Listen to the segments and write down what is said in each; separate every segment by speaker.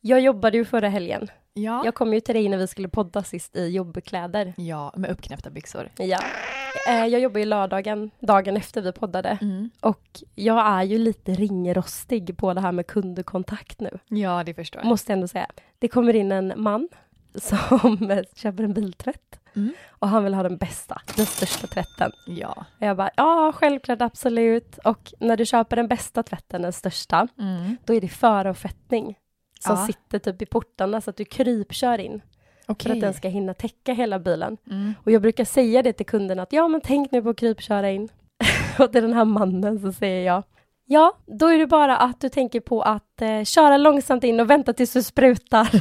Speaker 1: Jag jobbade ju förra helgen.
Speaker 2: Ja.
Speaker 1: Jag kom ju till dig när vi skulle podda sist i jobbkläder.
Speaker 2: ja, med uppknäppta byxor.
Speaker 1: Ja. Eh, Jag jobbar ju lördagen, dagen efter vi poddade.
Speaker 2: Mm.
Speaker 1: Och jag är ju lite ringrostig på det här med kundkontakt nu.
Speaker 2: Ja, det förstår jag.
Speaker 1: Måste jag ändå säga. Det kommer in en man som köper en biltvätt.
Speaker 2: Mm.
Speaker 1: Och han vill ha den bästa, den största tvätten.
Speaker 2: Ja.
Speaker 1: Och jag bara, ja självklart, absolut. Och när du köper den bästa tvätten, den största,
Speaker 2: Mm.
Speaker 1: då är det föravfettning som
Speaker 2: Ja.
Speaker 1: sitter typ i portarna så att du krypkör in för
Speaker 2: Okej.
Speaker 1: att den ska hinna täcka hela bilen.
Speaker 2: Mm.
Speaker 1: Och jag brukar säga det till kunden att ja, men tänk nu på att krypköra in. och till den här mannen så säger jag ja, då är det bara att du tänker på att eh, köra långsamt in och vänta tills du sprutar.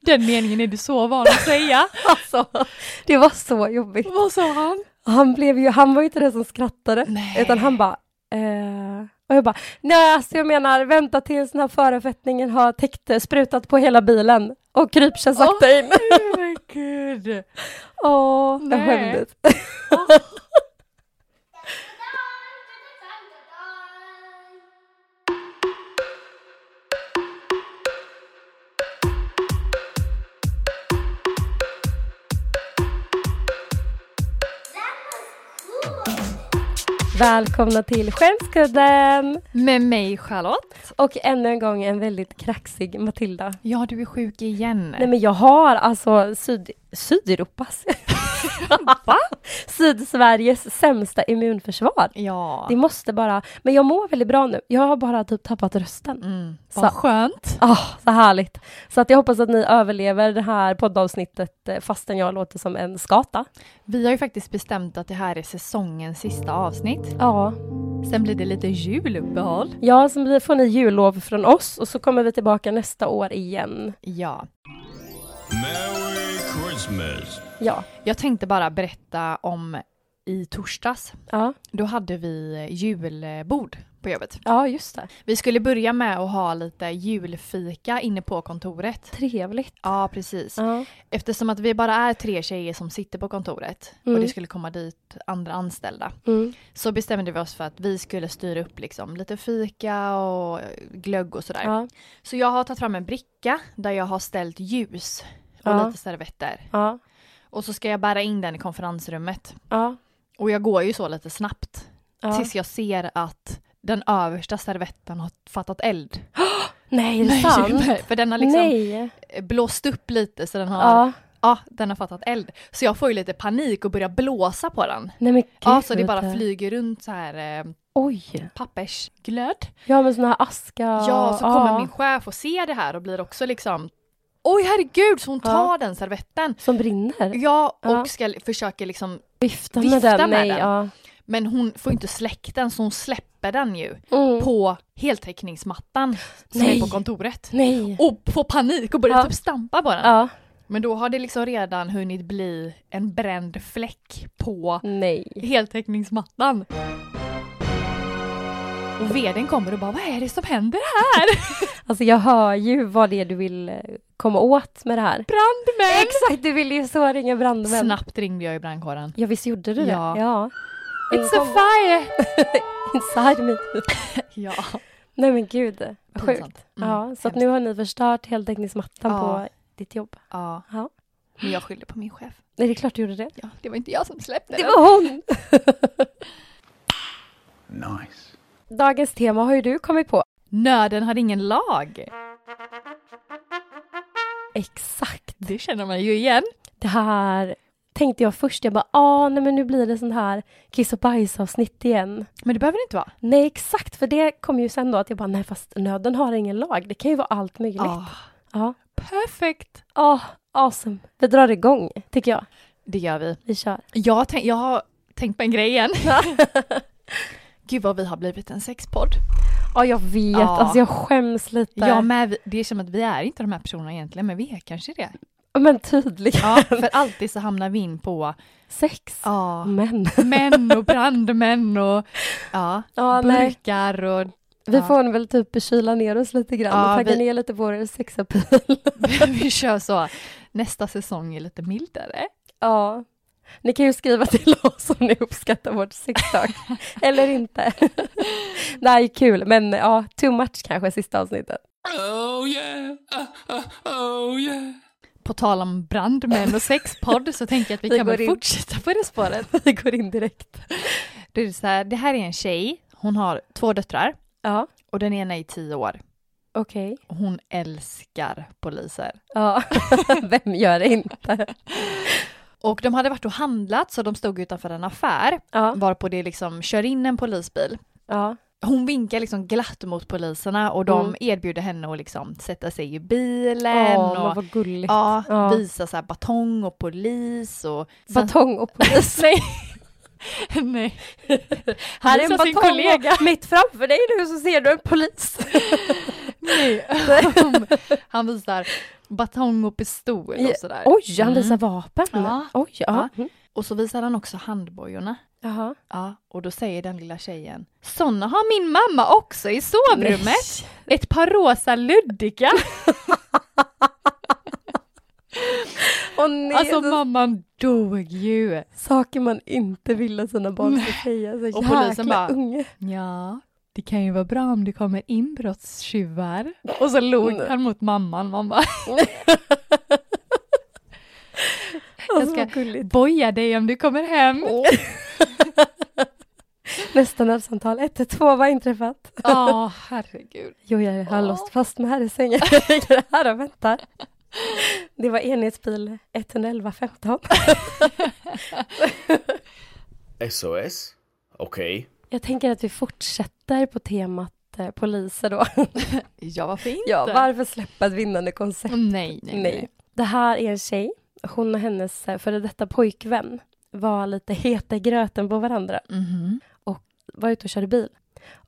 Speaker 2: Den meningen är du så van att säga.
Speaker 1: alltså, det var så jobbigt.
Speaker 2: Vad sa han?
Speaker 1: Han, blev ju, han var ju inte den som skrattade,
Speaker 2: Nej.
Speaker 1: utan han bara eh... Och jag bara, nej alltså jag menar vänta tills den här förfettningen har täckt, eh, sprutat på hela bilen och krypkör sakta in.
Speaker 2: Oh my god.
Speaker 1: Åh, jag
Speaker 2: Nej.
Speaker 1: skämdes. Välkomna till Skämskudden!
Speaker 2: Med mig Charlotte.
Speaker 1: Och ännu en gång en väldigt kraxig Matilda.
Speaker 2: Ja, du är sjuk igen.
Speaker 1: Nej men jag har alltså syd, Sydeuropas,
Speaker 2: Va?
Speaker 1: Sydsveriges sämsta immunförsvar.
Speaker 2: Ja.
Speaker 1: Det måste bara, men jag mår väldigt bra nu. Jag har bara typ tappat rösten.
Speaker 2: Mm.
Speaker 1: Så-
Speaker 2: Vad skönt.
Speaker 1: Ah, så härligt. Så att jag hoppas att ni överlever det här poddavsnittet eh, fastän jag låter som en skata.
Speaker 2: Vi har ju faktiskt bestämt att det här är säsongens sista avsnitt.
Speaker 1: Ja,
Speaker 2: Sen blir det lite juluppehåll.
Speaker 1: ja så blir- får ni jullov från oss och så kommer vi tillbaka nästa år igen.
Speaker 2: Ja.
Speaker 3: Merry Christmas.
Speaker 1: Ja,
Speaker 2: Jag tänkte bara berätta om i torsdags.
Speaker 1: ja,
Speaker 2: Då hade vi julbord på jobbet.
Speaker 1: ja just det.
Speaker 2: Vi skulle börja med att ha lite julfika inne på kontoret.
Speaker 1: Trevligt.
Speaker 2: Ja, precis.
Speaker 1: Ja,
Speaker 2: Eftersom att vi bara är tre tjejer som sitter på kontoret
Speaker 1: Mm.
Speaker 2: och det skulle komma dit andra anställda
Speaker 1: mm.
Speaker 2: så bestämde vi oss för att vi skulle styra upp liksom lite fika och glögg och sådär.
Speaker 1: ja,
Speaker 2: Så jag har tagit fram en bricka där jag har ställt ljus och
Speaker 1: Ja.
Speaker 2: lite servetter.
Speaker 1: ja,
Speaker 2: Och så ska jag bära in den i konferensrummet.
Speaker 1: ja.
Speaker 2: Och jag går ju så lite snabbt
Speaker 1: ja.
Speaker 2: tills jag ser att den översta servetten har fattat eld.
Speaker 1: Nej, är det sant?
Speaker 2: För den har liksom
Speaker 1: Nej.
Speaker 2: blåst upp lite så den har, ja.
Speaker 1: Ja.
Speaker 2: den har fattat eld. Så jag får ju lite panik och börjar blåsa på den.
Speaker 1: Nej men gud.
Speaker 2: Ja, så det bara flyger runt så här eh,
Speaker 1: Oj.
Speaker 2: pappersglöd.
Speaker 1: Ja, men sån här aska.
Speaker 2: Ja, så kommer min chef och ser det här och blir också liksom Oj herregud, så hon
Speaker 1: Ja.
Speaker 2: tar den servetten.
Speaker 1: Som brinner.
Speaker 2: Ja, och
Speaker 1: Ja.
Speaker 2: ska li- försöker liksom,
Speaker 1: Vifta med
Speaker 2: Vifta
Speaker 1: den.
Speaker 2: med
Speaker 1: Nej,
Speaker 2: den.
Speaker 1: ja.
Speaker 2: men hon får inte släckt den så hon släpper den ju
Speaker 1: Mm.
Speaker 2: på heltäckningsmattan som
Speaker 1: Nej.
Speaker 2: är på kontoret.
Speaker 1: Nej.
Speaker 2: Och får panik och börjar
Speaker 1: Ja.
Speaker 2: typ stampa på den.
Speaker 1: Ja.
Speaker 2: Men då har det liksom redan hunnit bli en bränd fläck på
Speaker 1: Nej.
Speaker 2: heltäckningsmattan. Och vdn kommer och bara, vad är det som händer här?
Speaker 1: Alltså jag hör ju vad det är du vill eh, komma åt med det här.
Speaker 2: Brandmän!
Speaker 1: Exakt, du ville ju så ringa brandmän.
Speaker 2: Snabbt ringde jag i brandkåren.
Speaker 1: Ja, visst gjorde du det?
Speaker 2: Ja.
Speaker 1: ja.
Speaker 2: It's a fire!
Speaker 1: Inside me.
Speaker 2: Ja.
Speaker 1: Nej men gud, vad sjukt.
Speaker 2: Pinsamt. Mm,
Speaker 1: Ja, så att
Speaker 2: hemskt.
Speaker 1: nu har ni förstört heltäckningsmattan
Speaker 2: Ja.
Speaker 1: på ditt jobb.
Speaker 2: ja.
Speaker 1: Ja.
Speaker 2: Men jag skyllde på min chef.
Speaker 1: Nej, det är klart du gjorde det.
Speaker 2: Ja, det var inte jag som släppte
Speaker 1: Det var hon!
Speaker 3: Nice.
Speaker 1: Dagens tema har ju du kommit på.
Speaker 2: Nöden hade ingen lag.
Speaker 1: Exakt.
Speaker 2: Det känner man ju igen.
Speaker 1: Det här tänkte jag först. Jag bara, ah, nej men nu blir det sån här kiss och bajs-avsnitt igen.
Speaker 2: Men det behöver det inte vara.
Speaker 1: Nej, exakt, för det kom ju sen då att jag bara, nej fast nöden har ingen lag. Det kan ju vara allt möjligt. Ja, ja.
Speaker 2: Ah. Perfekt.
Speaker 1: Ah, awesome. Vi drar igång, tycker jag.
Speaker 2: Det gör vi.
Speaker 1: Vi kör.
Speaker 2: Jag, tänk, jag har tänkt på en grej igen. Gud vad vi har blivit en sexpodd.
Speaker 1: Ja, jag vet.
Speaker 2: Ja.
Speaker 1: Alltså jag skäms lite.
Speaker 2: Ja, men vi- det är som att vi är inte de här personerna egentligen, men vi är kanske det.
Speaker 1: Men tydligen.
Speaker 2: Ja, för alltid så hamnar vi in på
Speaker 1: Sex.
Speaker 2: ja,
Speaker 1: Men.
Speaker 2: män och brandmän och ja,
Speaker 1: Ja, nej.
Speaker 2: burkar och
Speaker 1: Vi
Speaker 2: Ja.
Speaker 1: får väl typ kyla ner oss lite grann
Speaker 2: Ja,
Speaker 1: och tagga
Speaker 2: vi-
Speaker 1: ner lite på vår sexapil.
Speaker 2: vi kör så. Nästa säsong är lite mildare.
Speaker 1: Ja. Ni kan ju skriva till oss om ni uppskattar vårt sextalk. Eller inte. Det här är kul, men ja, too much kanske sista avsnittet.
Speaker 3: Oh yeah! Uh, uh, oh yeah!
Speaker 2: På tal om brandmän och sexpodd så tänker jag att vi,
Speaker 1: Vi
Speaker 2: kan
Speaker 1: går
Speaker 2: väl
Speaker 1: in.
Speaker 2: fortsätta på det spåret.
Speaker 1: Vi går in direkt.
Speaker 2: Det, är så här, det här är en tjej, hon har två döttrar
Speaker 1: Ja,
Speaker 2: och den ena är tio år.
Speaker 1: okej.
Speaker 2: Och hon älskar poliser.
Speaker 1: Ja, vem gör det inte?
Speaker 2: Och de hade varit och handlat så de stod utanför en affär
Speaker 1: Ja,
Speaker 2: varpå det liksom kör in en polisbil.
Speaker 1: ja,
Speaker 2: Hon vinkar liksom glatt mot poliserna och de
Speaker 1: Mm.
Speaker 2: erbjuder henne att liksom sätta sig i bilen
Speaker 1: Åh, men
Speaker 2: och
Speaker 1: vad gulligt.
Speaker 2: ja,
Speaker 1: Ja.
Speaker 2: visa så här batong och polis och...
Speaker 1: Batong och
Speaker 2: polis? Nej. Nej.
Speaker 1: Här är en
Speaker 2: Visa sin
Speaker 1: batong
Speaker 2: kollega.
Speaker 1: och mitt framför dig nu så ser du en polis.
Speaker 2: Nej. Han visar batong och pistol
Speaker 1: Ja,
Speaker 2: och sådär.
Speaker 1: Oj, han visar
Speaker 2: Mm.
Speaker 1: vapen.
Speaker 2: Ja.
Speaker 1: Oj, ja.
Speaker 2: Ja.
Speaker 1: Mm.
Speaker 2: Och så visar han också handbojorna.
Speaker 1: Jaha.
Speaker 2: Ja, och då säger den lilla tjejen Såna har min mamma också i sovrummet. Ett par rosa luddiga.
Speaker 1: Och nej,
Speaker 2: Alltså
Speaker 1: så-
Speaker 2: mamman dog ju.
Speaker 1: saker man inte vill att sina barn ska säga. Så
Speaker 2: Och
Speaker 1: jäkla
Speaker 2: polisen bara-
Speaker 1: unge.
Speaker 2: Ja, det kan ju vara bra om det kommer inbrottstjuvar. Och så log
Speaker 1: Nej.
Speaker 2: han mot mamman. Mamma,
Speaker 1: Alltså,
Speaker 2: ska-
Speaker 1: vad gulligt.
Speaker 2: boja dig om du kommer hem.
Speaker 1: Nästa nödsamtal, 112, vad har inträffat?
Speaker 2: Ja, herregud.
Speaker 1: Jo, jag har
Speaker 2: Åh.
Speaker 1: låst fast mig här i sängen. Jag ligger här och väntar. Det var enhetsbil 111 15.
Speaker 4: SOS? Okej.
Speaker 1: Jag tänker att vi fortsätter på temat eh, poliser då.
Speaker 2: Ja, varför inte?
Speaker 1: Ja, varför släppa ett vinnande koncept?
Speaker 2: Nej, nej, nej.
Speaker 1: Nej. Det här är en tjej. Hon och hennes eh, före detta pojkvän var lite heta i gröten på varandra.
Speaker 2: Mhm.
Speaker 1: var ute och körde bil.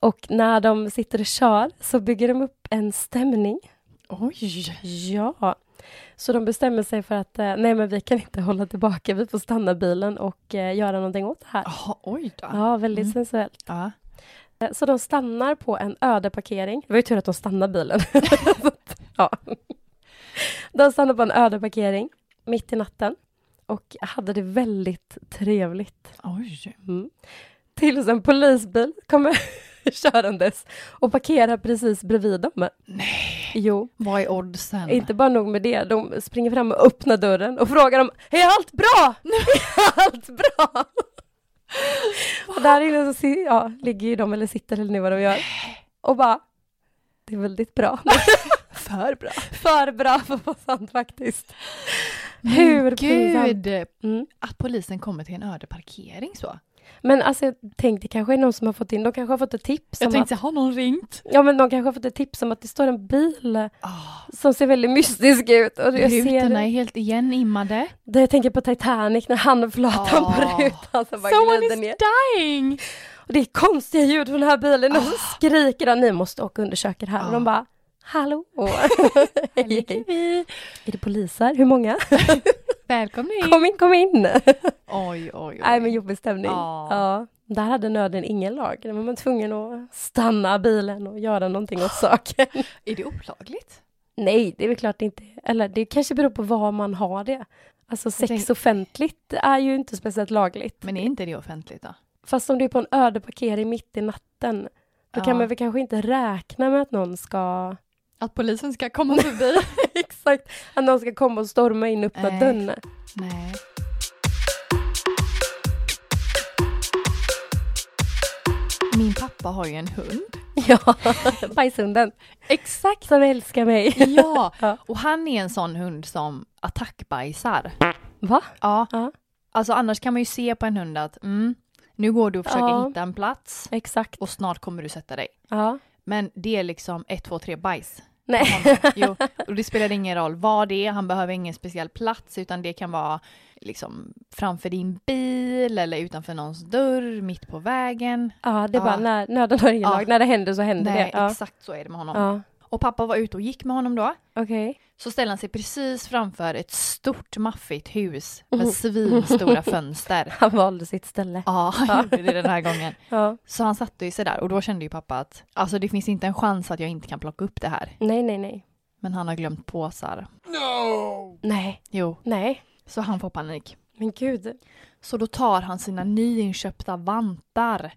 Speaker 1: Och när de sitter och kör så bygger de upp en stämning.
Speaker 2: Oj.
Speaker 1: Ja. Så de bestämmer sig för att eh, nej men vi kan inte hålla tillbaka, vi får stanna bilen och eh, göra någonting åt det här.
Speaker 2: Jaha, oj då.
Speaker 1: Ja, väldigt
Speaker 2: Mm.
Speaker 1: sensuellt.
Speaker 2: Ja.
Speaker 1: Eh, Så de stannar på en öde parkering. Det var ju tur att de stannade bilen. ja. De stannar på en öde parkering mitt i natten och hade det väldigt trevligt.
Speaker 2: Oj.
Speaker 1: Mm. Tills en polisbil kommer körandes och parkerar precis bredvid dem. Nej. Jo,
Speaker 2: Vad är oddsen?
Speaker 1: inte bara nog med det. De springer fram och öppnar dörren och frågar om är allt bra? Är allt bra? Och där inne så ser, ja, ligger ju de eller sitter eller nu vad de gör och bara det är väldigt bra.
Speaker 2: för bra.
Speaker 1: För bra för att vara sant faktiskt. Hur pinsamt.
Speaker 2: Gud,
Speaker 1: Mm.
Speaker 2: att polisen kommer till en öde parkering så.
Speaker 1: Men alltså jag tänkte kanske är någon som har fått in, de kanske har fått ett tips
Speaker 2: Jag
Speaker 1: om
Speaker 2: tänkte, har någon ringt?
Speaker 1: Ja men de kanske har fått ett tips om att det står en bil
Speaker 2: Oh,
Speaker 1: som ser väldigt mystisk ut. Och jag ser
Speaker 2: rutorna är
Speaker 1: det.
Speaker 2: helt igenimmade.
Speaker 1: det. Jag tänker på Titanic när han flötar
Speaker 2: Ah.
Speaker 1: på rutan så alltså bara
Speaker 2: Someone
Speaker 1: glider
Speaker 2: is
Speaker 1: ner.
Speaker 2: dying!
Speaker 1: Och det är konstiga ljud från den här bilen och så skriker han ni måste åka och undersöka det här. Och
Speaker 2: Ah.
Speaker 1: de bara hallå, hej, hej.
Speaker 2: vi.
Speaker 1: Är det poliser? Hur många?
Speaker 2: Välkomna in!
Speaker 1: Kom in, kom in!
Speaker 2: Oj, oj, oj.
Speaker 1: Nej men jobbig stämning.
Speaker 2: Ah.
Speaker 1: Ja. Där hade nöden ingen lag. Där var man tvungen att stanna bilen och göra någonting
Speaker 2: Ah.
Speaker 1: åt saken.
Speaker 2: Är det olagligt?
Speaker 1: Nej, det är väl klart inte. Eller det kanske beror på var man har det. Alltså sex
Speaker 2: tänk-
Speaker 1: offentligt är ju inte speciellt lagligt.
Speaker 2: Men är inte det offentligt då?
Speaker 1: Fast om du är på en öde parkering mitt i natten, då
Speaker 2: Ja.
Speaker 1: kan man väl kanske inte räkna med att någon ska...
Speaker 2: Att polisen ska komma förbi?
Speaker 1: Exakt, att någon ska komma och storma in och öppna
Speaker 2: Nej.
Speaker 1: dörren.
Speaker 2: Nej. Min pappa har ju en hund.
Speaker 1: Ja, bajshunden.
Speaker 2: Exakt!
Speaker 1: Som älskar mig.
Speaker 2: Ja,
Speaker 1: Ja.
Speaker 2: och han är en sån hund som attackbajsar.
Speaker 1: Va?
Speaker 2: Ja.
Speaker 1: Ja.
Speaker 2: Alltså annars kan man ju se på en hund att mm, nu går du och försöker
Speaker 1: Ja.
Speaker 2: hitta en plats
Speaker 1: Exakt.
Speaker 2: och snart kommer du sätta dig.
Speaker 1: Ja.
Speaker 2: Men det är liksom ett, två, tre bajs.
Speaker 1: Nej.
Speaker 2: Jo, och det spelar ingen roll vad det är, han behöver ingen speciell plats utan det kan vara liksom framför din bil eller utanför någons dörr, mitt på vägen.
Speaker 1: Ja, det är bara
Speaker 2: Ja.
Speaker 1: när nöden har ingen
Speaker 2: Ja.
Speaker 1: lag. När det händer så händer
Speaker 2: Nej,
Speaker 1: det. Ja.
Speaker 2: exakt så är det med honom.
Speaker 1: Ja.
Speaker 2: Och pappa var ute och gick med honom då.
Speaker 1: Okej.
Speaker 2: Så ställer han sig precis framför ett stort maffigt hus
Speaker 1: Oh.
Speaker 2: med svinstora fönster.
Speaker 1: Han valde sitt ställe.
Speaker 2: Ja, han gjorde det den här gången.
Speaker 1: Ja.
Speaker 2: Så han satte ju sig där och då kände ju pappa att alltså det finns inte en chans att jag inte kan plocka upp det här.
Speaker 1: Nej, nej, nej.
Speaker 2: Men han har glömt påsar.
Speaker 3: No!
Speaker 1: Nej,
Speaker 2: Jo,
Speaker 1: nej.
Speaker 2: så han får panik.
Speaker 1: Men gud.
Speaker 2: Så då tar han sina nyinköpta vantar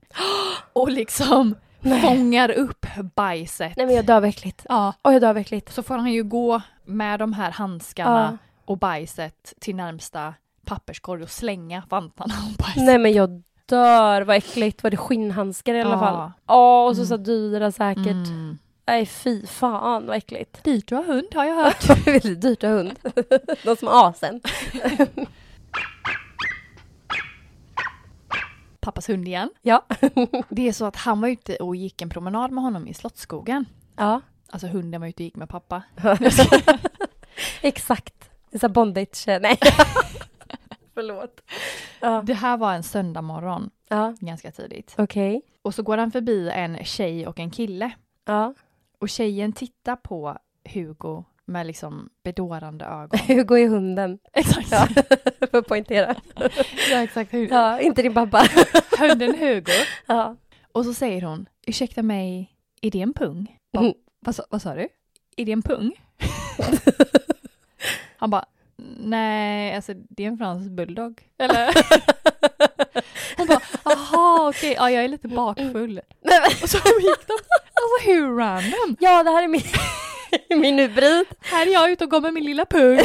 Speaker 2: och liksom
Speaker 1: Nej.
Speaker 2: fångar upp bajset.
Speaker 1: Nej men jag dör av äckligt.
Speaker 2: Ja,
Speaker 1: Åh jag dör av äckligt.
Speaker 2: så får han ju gå med de här handskarna och bajset till närmsta papperskorg och slänga vantarna och bajset.
Speaker 1: Nej men jag dör, vad äckligt. Var det skinnhandskar i alla
Speaker 2: Ja.
Speaker 1: fall? Ja, och så så dyra säkert.
Speaker 2: Mm.
Speaker 1: Nej fy fan vad äckligt.
Speaker 2: Dyrt att ha hund har jag hört.
Speaker 1: Väldigt dyrt att ha hund. De som har asen.
Speaker 2: Pappas hund igen.
Speaker 1: Ja.
Speaker 2: Det är så att han var ute och gick en promenad med honom i Slottsskogen.
Speaker 1: ja,
Speaker 2: Alltså hunden var ute och gick med pappa.
Speaker 1: exakt. Det är så här bondage. Nej. Förlåt. Ja,
Speaker 2: Det här var en söndag morgon,
Speaker 1: ja.
Speaker 2: ganska tidigt.
Speaker 1: okej.
Speaker 2: Och så går han förbi en tjej och en kille.
Speaker 1: Ja.
Speaker 2: Och tjejen tittar på Hugo med liksom bedårande ögon.
Speaker 1: Hugo är hunden,
Speaker 2: exakt.
Speaker 1: Ja. för att poängtera.
Speaker 2: ja, exakt. Hu-
Speaker 1: Ja, inte din pappa.
Speaker 2: Hunden Hugo.
Speaker 1: Ja.
Speaker 2: Och så säger hon, ursäkta mig, är det en pung? Bara,
Speaker 1: Mm.
Speaker 2: vad, sa, vad sa du? Är det en pung? Han bara, nej, alltså det är en fransk bulldog. Eller? Hon bara, aha, okej, ja, jag är lite bakfull.
Speaker 1: Nej, men-
Speaker 2: Och så gick de. Alltså hur random?
Speaker 1: Ja, det här är min, min hybrid.
Speaker 2: Här är jag ute och går med min lilla pung.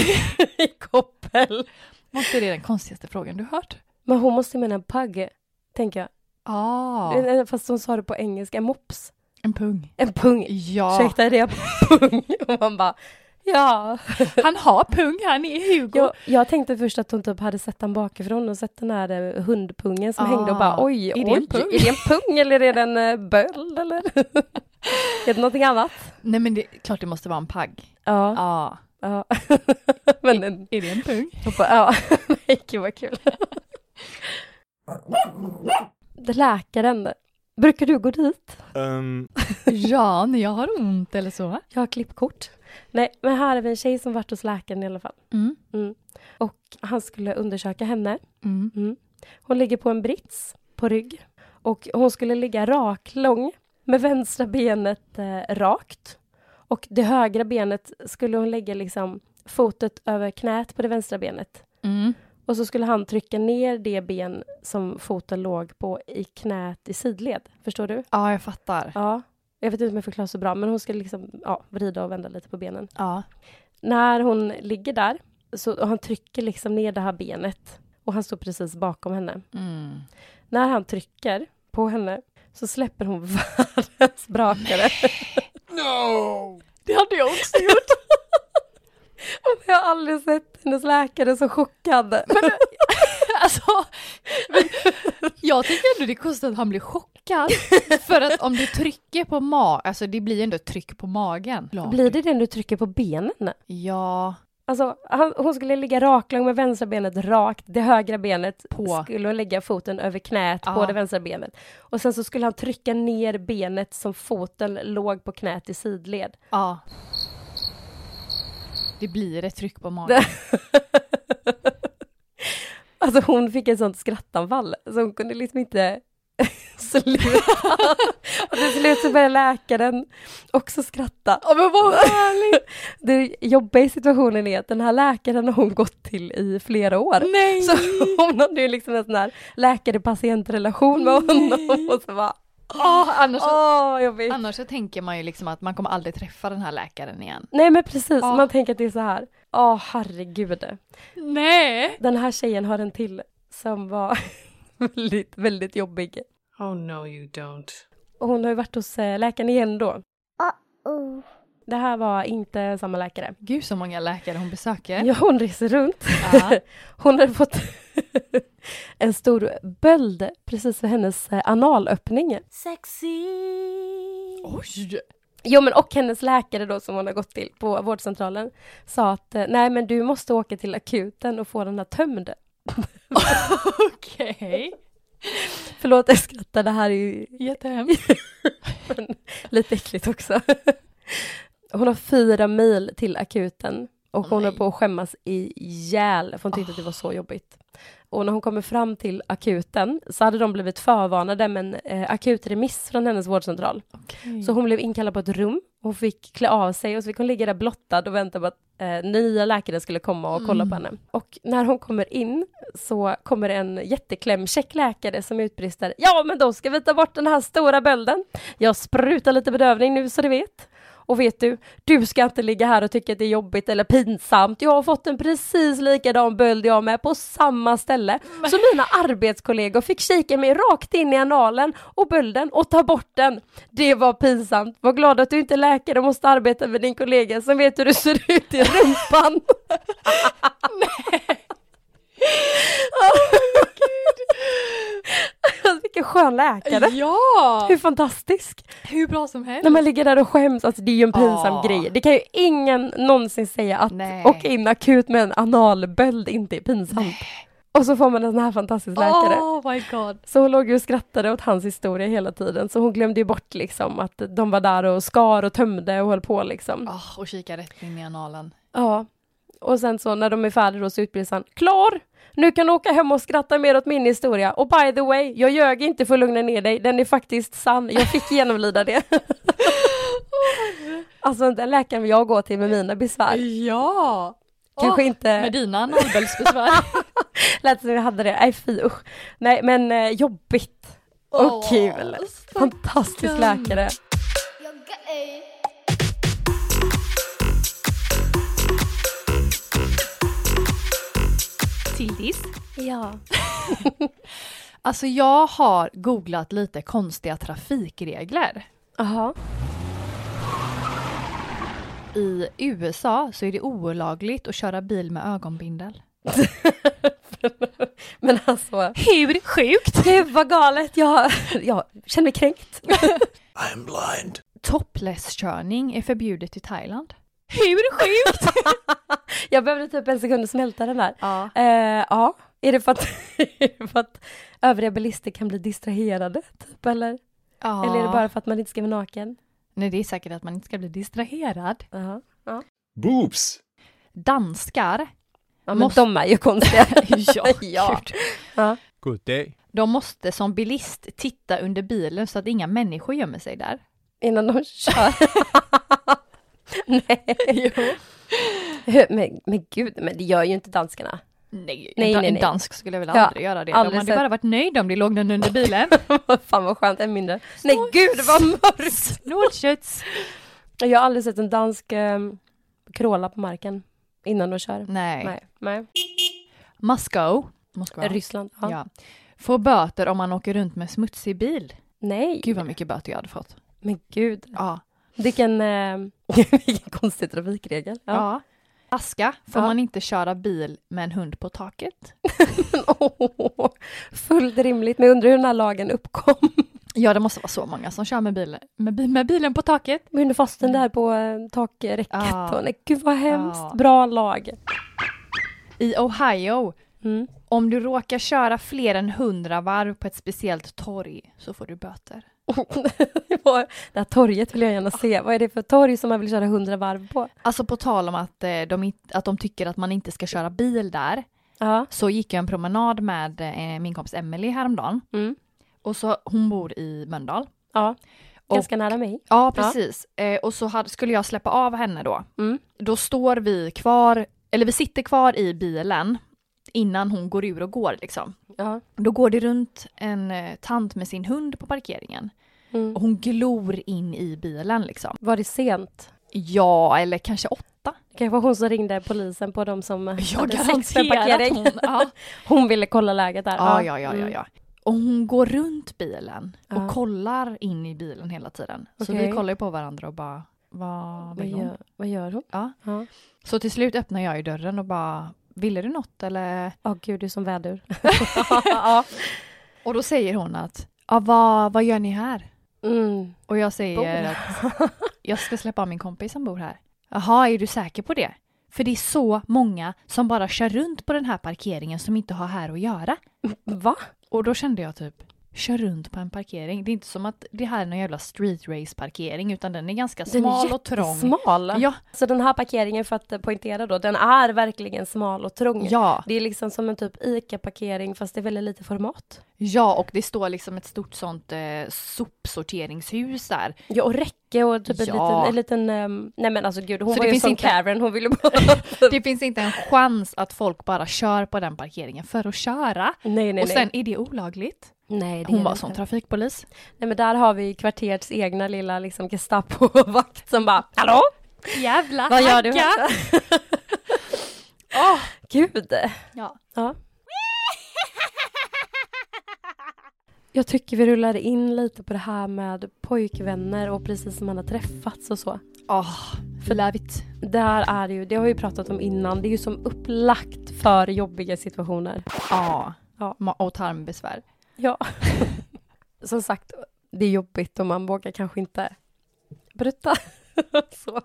Speaker 1: I koppel.
Speaker 2: Måste det är den konstigaste frågan du hört?
Speaker 1: Men hon måste mena pug, tänker jag.
Speaker 2: Ja,
Speaker 1: Fast hon sa det på engelska, en mops.
Speaker 2: en pung.
Speaker 1: En pung.
Speaker 2: Ja,
Speaker 1: Ursäkta, är det en pung? Och man bara, ja.
Speaker 2: han har pung, han är Hugo.
Speaker 1: Jag, jag tänkte först att hon typ hade sett den bakifrån och sett den här eh, hundpungen som
Speaker 2: Ah,
Speaker 1: hängde och bara oj,
Speaker 2: är det en
Speaker 1: oj,
Speaker 2: pung?
Speaker 1: är det en pung eller är det en eh, böld eller? är det någonting annat?
Speaker 2: Nej men det är klart det måste vara en pagg.
Speaker 1: Ja.
Speaker 2: Ja.
Speaker 1: ja. Men den,
Speaker 2: Är det en pung?
Speaker 1: hoppa, ja. Nej, Gud vad kul. Läkaren, brukar du gå dit?
Speaker 4: Ehm,
Speaker 2: Ja, när jag har ont eller så.
Speaker 1: Jag har klippkort. Nej, men här är vi en tjej som varit hos läkaren i alla fall.
Speaker 2: Mm.
Speaker 1: Och han skulle undersöka henne.
Speaker 2: Mm.
Speaker 1: Hon ligger på en brits på rygg och hon skulle ligga raklång med vänstra benet eh, rakt och det högra benet skulle hon lägga liksom fotet över knät på det vänstra benet
Speaker 2: Mm.
Speaker 1: och så skulle han trycka ner det ben som foten låg på i knät i sidled. Förstår du?
Speaker 2: Ja, jag fattar.
Speaker 1: Ja. Jag vet inte om jag förklarar så bra, men hon skulle liksom ja, vrida och vända lite på benen.
Speaker 2: Ja.
Speaker 1: När hon ligger där så och han trycker liksom ner det här benet och han står precis bakom henne.
Speaker 2: Mm.
Speaker 1: När han trycker på henne så släpper hon världens brakare.
Speaker 3: No!
Speaker 2: Det hade jag också gjort.
Speaker 1: Jag har aldrig sett hennes läkare så chockad.
Speaker 2: alltså, men jag tycker ändå det är konstigt att han blir chockad. För att om du trycker på magen, alltså det blir ju ändå ett tryck på magen.
Speaker 1: Blir det det när du trycker på benen?
Speaker 2: Ja,
Speaker 1: Alltså, han, hon skulle ligga raklång med vänstra benet rakt, det högra benet
Speaker 2: På.
Speaker 1: skulle hon lägga foten över knät på
Speaker 2: Ja.
Speaker 1: det vänstra benet. Och sen så skulle han trycka ner benet som foten låg på knät i sidled.
Speaker 2: ja. Det blir ett tryck på magen.
Speaker 1: Alltså hon fick ett sånt skrattanfall så hon kunde liksom inte sluta. och till slut så började läkaren också skratta.
Speaker 2: Ja, men vad härligt!
Speaker 1: Det jobbiga i situationen är att den här läkaren har hon gått till i flera år.
Speaker 2: Nej!
Speaker 1: Så hon hade ju liksom en sån här läkare-patient-relation med honom och så bara
Speaker 2: Åh, annars, så-
Speaker 1: åh jobbigt.
Speaker 2: annars så tänker man ju liksom att man kommer aldrig träffa den här läkaren igen.
Speaker 1: Nej men precis,
Speaker 2: Ja.
Speaker 1: man tänker att det är så här. Åh herregud.
Speaker 2: Nej!
Speaker 1: Den här tjejen har en till som var väldigt, väldigt jobbig.
Speaker 5: Oh, no, you don't.
Speaker 1: Och hon har ju varit hos eh, läkaren igen då. Det här var inte samma läkare.
Speaker 2: Gud så många läkare hon
Speaker 5: Eh?
Speaker 2: besöker.
Speaker 1: Ja, hon reser runt.
Speaker 2: Ja.
Speaker 1: Hon hade fått en stor böld precis vid hennes eh, analöppning.
Speaker 2: Oj!
Speaker 1: Jo, men och hennes läkare då som hon har gått till på vårdcentralen sa att eh, nej, men du måste åka till akuten och få den här tömd.
Speaker 2: Okej.
Speaker 1: Förlåt, jag skrattar. Det här är ju
Speaker 2: Jättehemskt.
Speaker 1: lite äckligt också. Hon har fyra mil till akuten och
Speaker 2: Åh,
Speaker 1: hon är
Speaker 2: nej. Oh.
Speaker 1: på att skämmas ihjäl för hon tyckte att det var så jobbigt. Och när hon kommer fram till akuten så hade de blivit förvarnade med en eh, akutremiss från hennes vårdcentral. Så hon blev inkallad på ett rum Hon fick klä av sig och så fick hon ligga där blottad och vänta på att eh, nya läkare skulle komma och kolla på henne. Och när hon kommer in så kommer en jätteklämkäck läkare som utbrister Ja, men då ska vi ta bort den här stora bölden. Jag sprutar lite bedövning nu så du vet. Och vet du, du ska inte ligga här och tycka att det är jobbigt eller pinsamt. Jag har fått en precis likadan böld jag med på samma ställe. Så mina arbetskollegor fick kika mig rakt in i analen och bölden och ta bort den. Det var pinsamt. Var glad att du inte är läkare och måste arbeta med din kollega som vet hur du ser ut i rumpan. Alltså, Vilken skön läkare.
Speaker 2: Ja!
Speaker 1: Hur fantastisk.
Speaker 2: Hur bra som helst.
Speaker 1: När man ligger där och skäms, alltså det är ju en pinsam
Speaker 2: Ja.
Speaker 1: grej. Det kan ju ingen någonsin säga att
Speaker 2: Nej.
Speaker 1: åka in akut med en analböld inte är pinsamt. Och så får man en sån här fantastisk läkare.
Speaker 2: Oh my god.
Speaker 1: Så hon låg ju och skrattade åt hans historia hela tiden, så hon glömde ju bort liksom att de var där och skar och tömde och höll på liksom.
Speaker 2: Ah, och kika rätt in i analen.
Speaker 1: Ja. Och sen så när de är färdiga då så utbrister han Klar! Nu kan du åka hem och skratta mer åt min historia. Och by the way, jag ljög inte för att lugna ner dig. Den är faktiskt sann. Jag fick genomlida det. alltså den läkaren vill jag gå till med mina besvär.
Speaker 2: Ja!
Speaker 1: Kanske inte-
Speaker 2: Med dina analböldsbesvär.
Speaker 1: Lät som jag hade det. Nej fy usch. Nej men eh, jobbigt. Och
Speaker 2: Åh,
Speaker 1: kul. Fantastisk läkare.
Speaker 2: Tildis.
Speaker 1: Ja.
Speaker 2: Alltså jag har googlat lite konstiga trafikregler.
Speaker 1: Jaha.
Speaker 2: I USA så är det olagligt att köra bil med ögonbindel.
Speaker 1: Men alltså.
Speaker 2: Hur sjukt?
Speaker 1: Gud vad galet. Jag, jag känner mig kränkt.
Speaker 4: I'm blind.
Speaker 2: Topless-körning är förbjudet i Thailand. Hur sjukt?
Speaker 1: Jag behövde typ en sekund att smälta den där.
Speaker 2: ja.
Speaker 1: Eh, ja, är det för att, är det för att övriga bilister kan bli distraherade? Typ, eller?
Speaker 2: ja.
Speaker 1: eller är det bara för att man inte ska vara naken?
Speaker 2: Nej, det är säkert att man inte ska bli distraherad.
Speaker 1: Jaha. Ja.
Speaker 4: Boobs.
Speaker 2: Danskar.
Speaker 1: Ja, men
Speaker 2: Måste-
Speaker 1: de är ju konstiga.
Speaker 2: ja,
Speaker 1: Ja.
Speaker 2: gud.
Speaker 6: Good day.
Speaker 2: De måste som bilist titta under bilen så att inga människor gömmer sig där.
Speaker 1: Innan de kör. nej. Hur- Men, men gud, men det gör ju inte danskarna.
Speaker 2: Nej,
Speaker 1: Nej,
Speaker 2: en,
Speaker 1: nej,
Speaker 2: en
Speaker 1: nej.
Speaker 2: dansk skulle väl
Speaker 1: Ja,
Speaker 2: aldrig göra det. De
Speaker 1: aldrig
Speaker 2: hade
Speaker 1: sett-
Speaker 2: bara varit nöjda om det låg någon under bilen.
Speaker 1: Fan vad skönt, en mindre. Nej gud vad mörkt.
Speaker 2: Snålköts.
Speaker 1: Jag har aldrig sett en dansk um, kråla på marken innan de kör.
Speaker 2: Nej.
Speaker 1: Nej. nej.
Speaker 2: Moscow. Moskva.
Speaker 1: Ryssland. Ja.
Speaker 2: Ja. Får böter om man åker runt med smutsig bil.
Speaker 1: Nej.
Speaker 2: Gud vad mycket böter jag hade fått.
Speaker 1: Men gud.
Speaker 2: Ja.
Speaker 1: Vilken, eh, vilken konstig trafikregel.
Speaker 2: ja.
Speaker 1: Ja.
Speaker 2: Aska. Får
Speaker 1: Ja.
Speaker 2: man inte köra bil med en hund på taket?
Speaker 1: Åh, fullt rimligt, men jag undrar hur den här lagen uppkom.
Speaker 2: Ja, det måste vara så många som kör med, bil, med, bi- med bilen på taket.
Speaker 1: Vi under fast den där på eh, takräcket.
Speaker 2: Ja.
Speaker 1: Och, nej, gud vad hemskt.
Speaker 2: Ja.
Speaker 1: Bra lag.
Speaker 2: I Ohio.
Speaker 1: Mm.
Speaker 2: Om du råkar köra fler än 100 varv på ett speciellt torg så får du böter.
Speaker 1: det var- det här torget vill jag gärna se. Vad är det för torg som man vill köra hundra varv på?
Speaker 2: Alltså på tal om att, eh, de, inte- att de tycker att man inte ska köra bil där
Speaker 1: Ja.
Speaker 2: så gick jag en promenad med eh, min kompis Emelie häromdagen.
Speaker 1: Mm.
Speaker 2: Och så, hon bor i Mölndal.
Speaker 1: ja.
Speaker 2: Och-
Speaker 1: Ganska nära mig.
Speaker 2: Ja, precis. Eh, och så hade, skulle jag släppa av henne då.
Speaker 1: Mm.
Speaker 2: Då står vi kvar, eller vi sitter kvar i bilen innan hon går ur och går liksom.
Speaker 1: Ja.
Speaker 2: Då går det runt en eh, tant med sin hund på parkeringen.
Speaker 1: Mm.
Speaker 2: Och hon glor in i bilen liksom.
Speaker 1: Var det sent?
Speaker 2: Ja, eller kanske åtta.
Speaker 1: Det kanske var hon som ringde polisen på de som eh,
Speaker 2: Jag
Speaker 1: hade sex på en
Speaker 2: garanterar
Speaker 1: parkering.
Speaker 2: hon. Ja.
Speaker 1: Hon ville kolla läget där.
Speaker 2: Ja, ja, ja, ja,
Speaker 1: Mm.
Speaker 2: ja. Och hon går runt bilen och
Speaker 1: Ja.
Speaker 2: kollar in i bilen hela tiden. Så
Speaker 1: Okej.
Speaker 2: vi kollar ju på varandra och bara, vad
Speaker 1: Vad
Speaker 2: vill hon?
Speaker 1: gör, vad gör hon?
Speaker 2: Ja.
Speaker 1: Ja.
Speaker 2: Så till slut öppnar jag ju dörren och bara, ville du något eller?
Speaker 1: Åh gud, det är som vädur. ja.
Speaker 2: Och då säger hon att, ja vad, vad gör ni här?
Speaker 1: mm.
Speaker 2: Och jag säger
Speaker 1: Bor.
Speaker 2: att jag ska släppa av min kompis som bor här. Jaha, är du säker på det? För det är så många som bara kör runt på den här parkeringen som inte har här att göra.
Speaker 1: Va?
Speaker 2: Och då kände jag typ, kör runt på en parkering. Det är inte som att det här är någon jävla street race parkering utan den är ganska
Speaker 1: Den är
Speaker 2: smal och trång.
Speaker 1: jättesmal.
Speaker 2: Ja,
Speaker 1: Så den här parkeringen, för att eh, poängtera då, den är verkligen smal och trång.
Speaker 2: ja,
Speaker 1: Det är liksom som en typ ICA-parkering fast det är väldigt lite format.
Speaker 2: ja och det står liksom ett stort sånt eh, sopsorteringshus där.
Speaker 1: Ja, och räcke och typ en liten,
Speaker 2: Ja.
Speaker 1: en liten ehm, nej men alltså gud, hon
Speaker 2: Så
Speaker 1: var
Speaker 2: det
Speaker 1: ju
Speaker 2: finns
Speaker 1: som
Speaker 2: inte-
Speaker 1: Karen, hon ville bara...
Speaker 2: Det finns inte en chans att folk bara kör på den parkeringen för att köra.
Speaker 1: nej, nej,
Speaker 2: och sen
Speaker 1: nej.
Speaker 2: är det olagligt.
Speaker 1: nej det är
Speaker 2: Hon var
Speaker 1: det
Speaker 2: som
Speaker 1: inte.
Speaker 2: trafikpolis.
Speaker 1: Nej men där har vi kvarterets egna lilla liksom Gestapo-vakt som bara, hallå?
Speaker 2: Jävla
Speaker 1: Vad gör du
Speaker 2: hacka!
Speaker 1: här?
Speaker 2: Åh,
Speaker 1: Gud!
Speaker 2: ja.
Speaker 1: Ja. Jag tycker vi rullar in lite på det här med pojkvänner och precis som man har träffats och så.
Speaker 2: Åh, för lävigt.
Speaker 1: Där är det ju, det har vi ju pratat om innan, det är ju som upplagt för jobbiga situationer.
Speaker 2: Ja.
Speaker 1: Ja.
Speaker 2: Ma- Och tarmbesvär.
Speaker 1: Ja. som sagt, det är jobbigt och man vågar kanske inte bryta. så.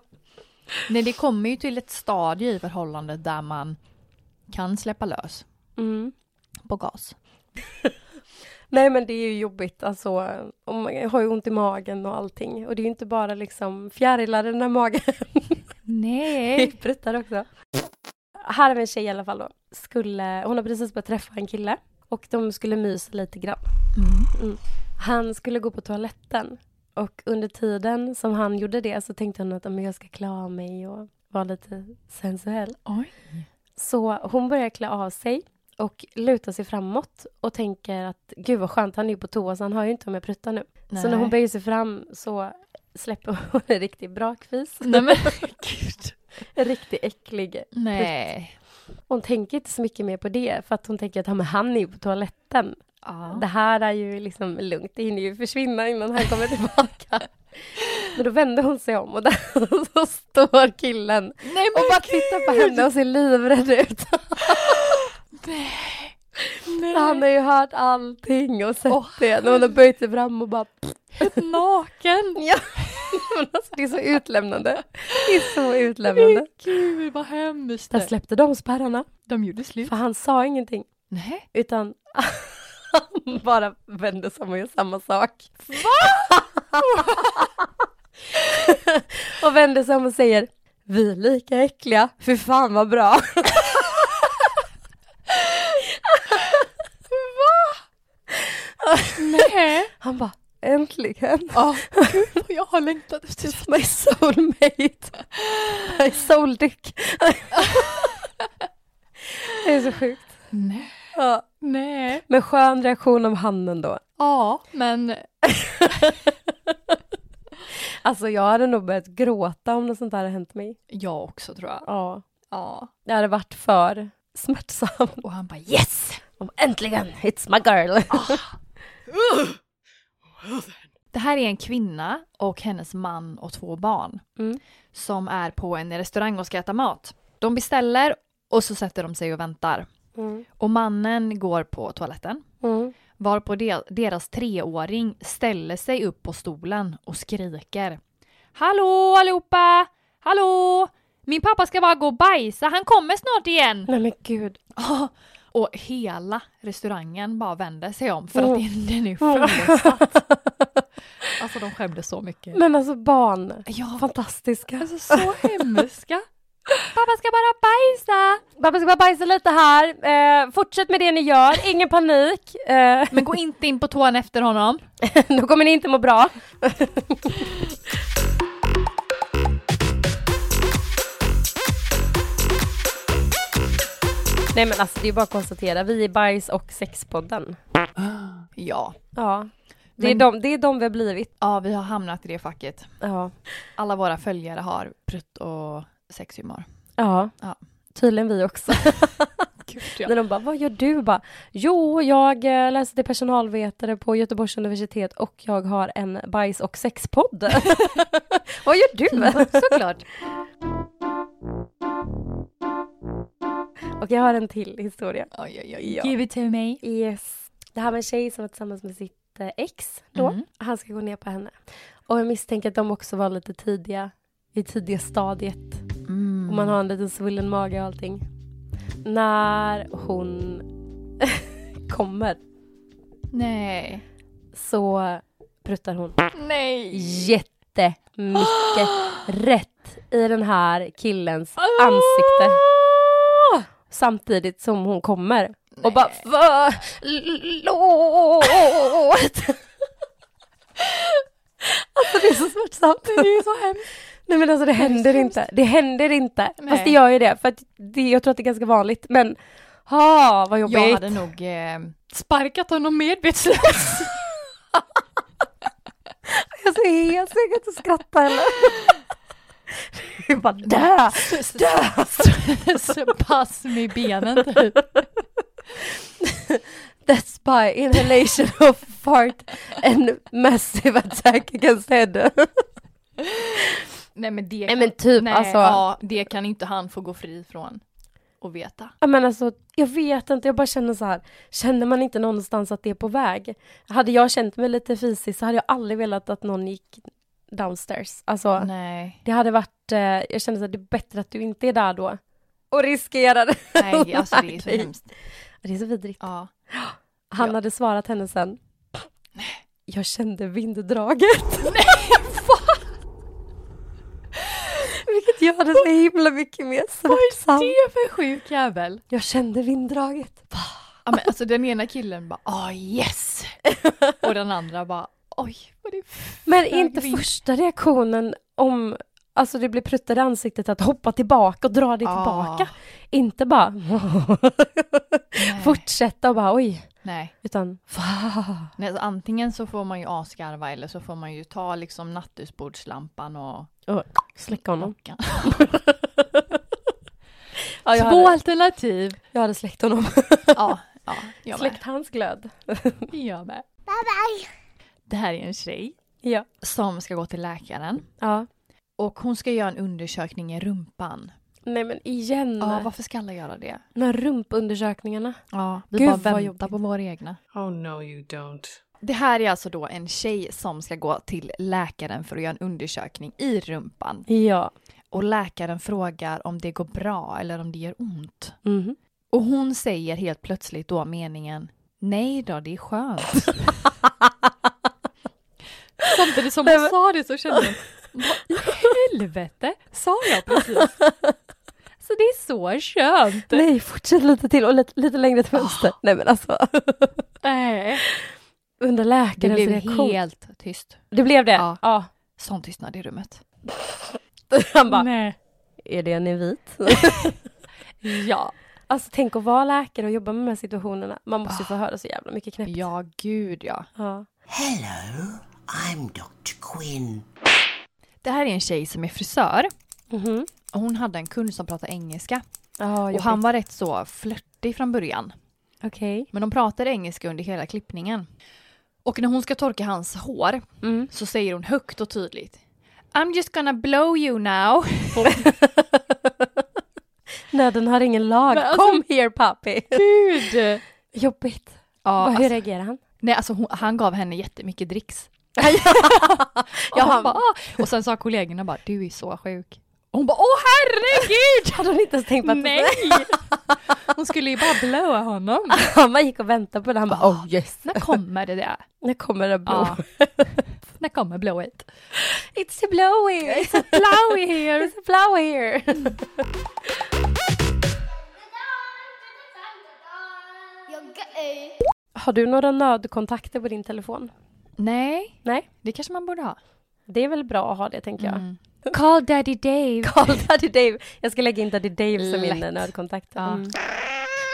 Speaker 2: Nej, det kommer ju till ett stadie i förhållandet där man kan släppa lös
Speaker 1: Mm.
Speaker 2: på gas.
Speaker 1: Nej men det är ju jobbigt alltså, och man har ju ont i magen och allting. Och det är ju inte bara liksom fjärilar i den här magen, det
Speaker 2: Nej.
Speaker 1: sprutar också. Här har vi en tjej i alla fall då. Skulle, hon har precis börjat träffa en kille och de skulle mysa lite grann.
Speaker 2: Mm.
Speaker 1: Han skulle gå på toaletten och under tiden som han gjorde det så tänkte hon att "Men jag ska klä av mig och vara lite sensuell.
Speaker 2: Oj.
Speaker 1: Så hon börjar klä av sig och lutar sig framåt och tänker att gud vad skönt, han är ju på toa så han hör ju inte om jag pruttar nu. Så när
Speaker 2: Nej.
Speaker 1: hon böjer sig fram så släpper hon en riktig brakfis.
Speaker 2: Nej men gud.
Speaker 1: En riktigt äcklig.
Speaker 2: Nej.
Speaker 1: Hon tänker inte så mycket mer på det för att hon tänker att "Ja, men han är ju på toaletten.
Speaker 2: Ja.
Speaker 1: Det här är ju liksom lugnt, det hinner ju försvinna innan han kommer tillbaka. Men då vänder hon sig om och där så står killen
Speaker 2: Nej
Speaker 1: och bara tittar på henne och ser livrädd ut.
Speaker 2: Nej.
Speaker 1: Han har ju hört allting och sett det när hon har böjt sig fram och bara
Speaker 2: naken.
Speaker 1: Ja, men alltså, det är så utlämnande. Det är så utlämnande.
Speaker 2: Gud vad hemskt.
Speaker 1: Där släppte de spärrarna,
Speaker 2: De gjorde slut.
Speaker 1: för han sa ingenting,
Speaker 2: Nej.
Speaker 1: utan han bara vände sig om och gjorde samma sak. Va? och vände sig om och säger, vi är lika äckliga, för fan vad bra.
Speaker 2: Nej.
Speaker 1: Han bara, äntligen.
Speaker 2: Ja. Gud, jag har längtat efter
Speaker 1: It's my soulmate. My soul dick. det är så sjukt.
Speaker 2: Nej.
Speaker 1: Ja.
Speaker 2: Nej.
Speaker 1: Men skön reaktion av handen då.
Speaker 2: Ja, men
Speaker 1: Alltså jag hade nog börjat gråta om något sånt där hade hänt mig.
Speaker 2: jag också tror jag.
Speaker 1: Ja.
Speaker 2: Ja.
Speaker 1: Det hade varit för smärtsamt.
Speaker 2: Och han bara yes!
Speaker 1: Om Äntligen, it's my girl.
Speaker 2: Det här är en kvinna och hennes man och två barn
Speaker 1: Mm.
Speaker 2: som är på en restaurang och ska äta mat. De beställer och så sätter de sig och väntar.
Speaker 1: Mm.
Speaker 2: Och mannen går på toaletten
Speaker 1: Mm.
Speaker 2: varpå de- deras treåring ställer sig upp på stolen och skriker. Hallå allihopa! Hallå! Min pappa ska bara gå och bajsa, han kommer snart igen!
Speaker 1: Nej men gud.
Speaker 2: Ja, Och hela restaurangen bara vänder sig om för att
Speaker 1: Mm.
Speaker 2: den- den är fullsatt. Alltså de skämdes så mycket.
Speaker 1: Men alltså barn.
Speaker 2: Ja,
Speaker 1: Fantastiska.
Speaker 2: alltså så hemska. Pappa ska bara bajsa!
Speaker 1: Pappa ska bara bajsa lite här. Eh, fortsätt med det ni gör, ingen panik. Eh,
Speaker 2: Men gå inte in på toan efter honom.
Speaker 1: då kommer ni inte må bra. Nej men alltså det är bara att konstatera, vi är bajs och sexpodden.
Speaker 2: Ja.
Speaker 1: Ja. Det,
Speaker 2: Men-
Speaker 1: är de, det är de vi har blivit.
Speaker 2: ja, vi har hamnat i det facket.
Speaker 1: Ja.
Speaker 2: Alla våra följare har prutt och sexhumor.
Speaker 1: ja.
Speaker 2: Ja.
Speaker 1: Tydligen vi också.
Speaker 2: Gud,
Speaker 1: När de bara, vad gör du? Bara, jo, jag eh, läser till personalvetare på Göteborgs universitet och jag har en bajs och sexpodd. vad gör du?
Speaker 2: Såklart.
Speaker 1: och jag har en till historia.
Speaker 2: Oj, oj,
Speaker 1: oj.
Speaker 2: Give it to me.
Speaker 1: Yes. Det här med en tjej som var tillsammans med sitt eh, ex då.
Speaker 2: Mm.
Speaker 1: Han ska gå ner på henne. Och jag misstänker att de också var lite tidiga, i tidiga stadiet.
Speaker 2: Mm.
Speaker 1: Och man har en liten svullen mage och allting. När hon kommer
Speaker 2: Nej.
Speaker 1: så pruttar hon
Speaker 2: Nej!
Speaker 1: jättemycket rätt i den här killens ansikte. Samtidigt som hon kommer. Och bara förlåt! alltså det är så smärtsamt. Det är så hemskt. Nej men alltså det händer inte. Det händer inte. Fast
Speaker 2: Nej.
Speaker 1: det gör ju det. För att det, jag tror att det är ganska vanligt. Men ha vad jobbigt.
Speaker 2: Jag hade nog eh, sparkat honom medvetslös.
Speaker 1: Jag är så hes, jag kan inte skratta heller. Jag bara dö, dö.
Speaker 2: Pass med benen typ.
Speaker 1: That's by inhalation of fart and massive attack against head.
Speaker 2: Nej men det,
Speaker 1: Nej men typ
Speaker 2: nej,
Speaker 1: alltså. Ja.
Speaker 2: ja, det kan inte han få gå fri från och veta.
Speaker 1: Men alltså. Jag vet inte, jag bara känner så här. Känner man inte någonstans att det är på väg? Hade jag känt mig lite fisig så hade jag aldrig velat att någon gick downstairs. Alltså.
Speaker 2: Nej.
Speaker 1: Det hade varit, eh, jag känner så här, det är bättre att du inte är där då. Och riskerar det.
Speaker 2: Nej, alltså det är så hemskt.
Speaker 1: Det är så vidrigt.
Speaker 2: Ja.
Speaker 1: Han
Speaker 2: Ja.
Speaker 1: hade svarat henne sen. Jag kände vinddraget. Vilket gör det så himla mycket mer
Speaker 2: Det
Speaker 1: smärtsamt.
Speaker 2: är för sjuk jävel.
Speaker 1: Jag kände vinddraget.
Speaker 2: Ja, men alltså den ena killen bara ah yes! Och den andra bara oj vad det är f-
Speaker 1: Men är inte
Speaker 2: vind.
Speaker 1: första reaktionen om alltså det blir pruttar i ansiktet att hoppa tillbaka och dra dig
Speaker 2: Ah.
Speaker 1: tillbaka. Inte bara
Speaker 2: nej.
Speaker 1: fortsätta och bara oj,
Speaker 2: Nej.
Speaker 1: utan
Speaker 2: nej alltså, antingen så får man ju asgarva eller så får man ju ta liksom nattduksbordslampan och
Speaker 1: och släcka honom.
Speaker 2: knocka.
Speaker 1: Ja, jag,
Speaker 2: Två
Speaker 1: hade,
Speaker 2: alternativ.
Speaker 1: jag hade släckt honom.
Speaker 2: Ja, ja jag med.
Speaker 1: Släckt hans glöd.
Speaker 2: Jag med. Bye bye. Det här är en tjej
Speaker 1: Ja.
Speaker 2: som ska gå till läkaren
Speaker 1: ja.
Speaker 2: och hon ska göra en undersökning i rumpan.
Speaker 1: Nej men igen.
Speaker 2: Ja, varför ska alla göra det?
Speaker 1: De här rumpundersökningarna.
Speaker 2: Ja, vi
Speaker 1: Gud,
Speaker 2: bara
Speaker 1: vad
Speaker 2: väntar
Speaker 1: jobbigt.
Speaker 2: på våra egna.
Speaker 5: Oh, no, you don't.
Speaker 2: Det här är alltså då en tjej som ska gå till läkaren för att göra en undersökning i rumpan.
Speaker 1: Ja.
Speaker 2: Och läkaren frågar om det går bra eller om det gör ont.
Speaker 1: Mhm.
Speaker 2: Och hon säger helt plötsligt då meningen Nej då, det är skönt. Samtidigt som
Speaker 1: Nej,
Speaker 2: hon
Speaker 1: men-
Speaker 2: sa det så kände hon Vad i helvete sa jag precis? Så det är så skönt.
Speaker 1: Nej, fortsätt lite till och lite, lite längre till vänster. Nej men alltså.
Speaker 2: Nej.
Speaker 1: Under
Speaker 2: Det
Speaker 1: läkarens
Speaker 2: blev
Speaker 1: reaktion.
Speaker 2: helt tyst.
Speaker 1: Det blev det?
Speaker 2: Ja.
Speaker 1: Ja.
Speaker 2: Sån tystnad i rummet.
Speaker 1: Han bara,
Speaker 2: Nej.
Speaker 1: är det en invit?
Speaker 2: Ja.
Speaker 1: alltså tänk att vara läkare och jobba med de här situationerna. Man måste ju få höra så jävla mycket knäppt.
Speaker 2: Ja, gud ja.
Speaker 1: Ah. Ja.
Speaker 6: Hello, I'm Dr. Quinn.
Speaker 2: Det här är en tjej som är frisör.
Speaker 1: Mhm.
Speaker 2: Och Hon hade en kund som pratade engelska.
Speaker 1: Ja,
Speaker 2: Och han var rätt så flörtig från början.
Speaker 1: Okej.
Speaker 2: Men de pratade engelska under hela klippningen. Och när hon ska torka hans hår
Speaker 1: Mm.
Speaker 2: så säger hon högt och tydligt I'm just gonna blow you now.
Speaker 1: Nöden har ingen lag.
Speaker 2: Men alltså-
Speaker 1: Kom here puppy!
Speaker 2: Gud!
Speaker 1: Jobbigt.
Speaker 2: Ja,
Speaker 1: Vad- Hur
Speaker 2: alltså,
Speaker 1: reagerar han?
Speaker 2: nej, alltså hon, han gav henne jättemycket dricks. Och,
Speaker 1: Ja,
Speaker 2: hon
Speaker 1: han-
Speaker 2: bara, "Ah." och sen sa kollegorna bara du är så sjuk. Och hon bara åh herregud!
Speaker 1: Hade hon inte ens tänkt på att
Speaker 2: Nej! Hon skulle ju bara blöa honom.
Speaker 1: man gick och väntade på det. Han bara, oh yes. Ah.
Speaker 2: När kommer det där?
Speaker 1: Nu kommer det blå.
Speaker 2: Ja. När kommer blowet?
Speaker 1: It's a blowy, it's a blowy here, it's a blowy here. Har du några nödkontakter på din telefon?
Speaker 2: Nej,
Speaker 1: Nej,
Speaker 2: det kanske man borde ha.
Speaker 1: det är väl bra att ha det tänker jag.
Speaker 2: Call daddy Dave.
Speaker 1: Call Daddy Dave. Jag ska lägga in Daddy Dave som min
Speaker 2: Lätt.
Speaker 1: eh, nödkontakt.
Speaker 2: Ja.
Speaker 1: Mm.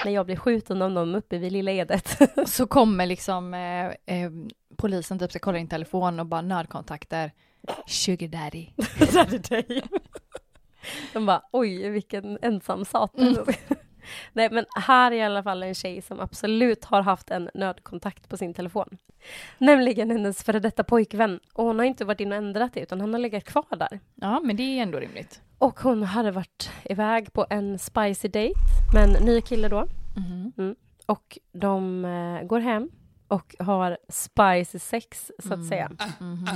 Speaker 1: När jag blir skjuten av någon uppe vid Lilla Edet.
Speaker 2: Så kommer liksom eh, eh, polisen typ ska kolla din telefon och bara nödkontakter. Sugar daddy.
Speaker 1: Daddy Dave. De bara, oj vilken ensam satan. Nej men här är i alla fall en tjej som absolut har haft en nödkontakt på sin telefon. Nämligen hennes före detta pojkvän. Och hon har inte varit inne och ändrat det utan han har legat kvar där.
Speaker 2: Ja, men det är ändå rimligt.
Speaker 1: Och hon hade varit iväg på en spicy date med en ny kille då.
Speaker 2: Mhm.
Speaker 1: Och de eh, går hem och har spicy sex så att säga.
Speaker 2: mhm.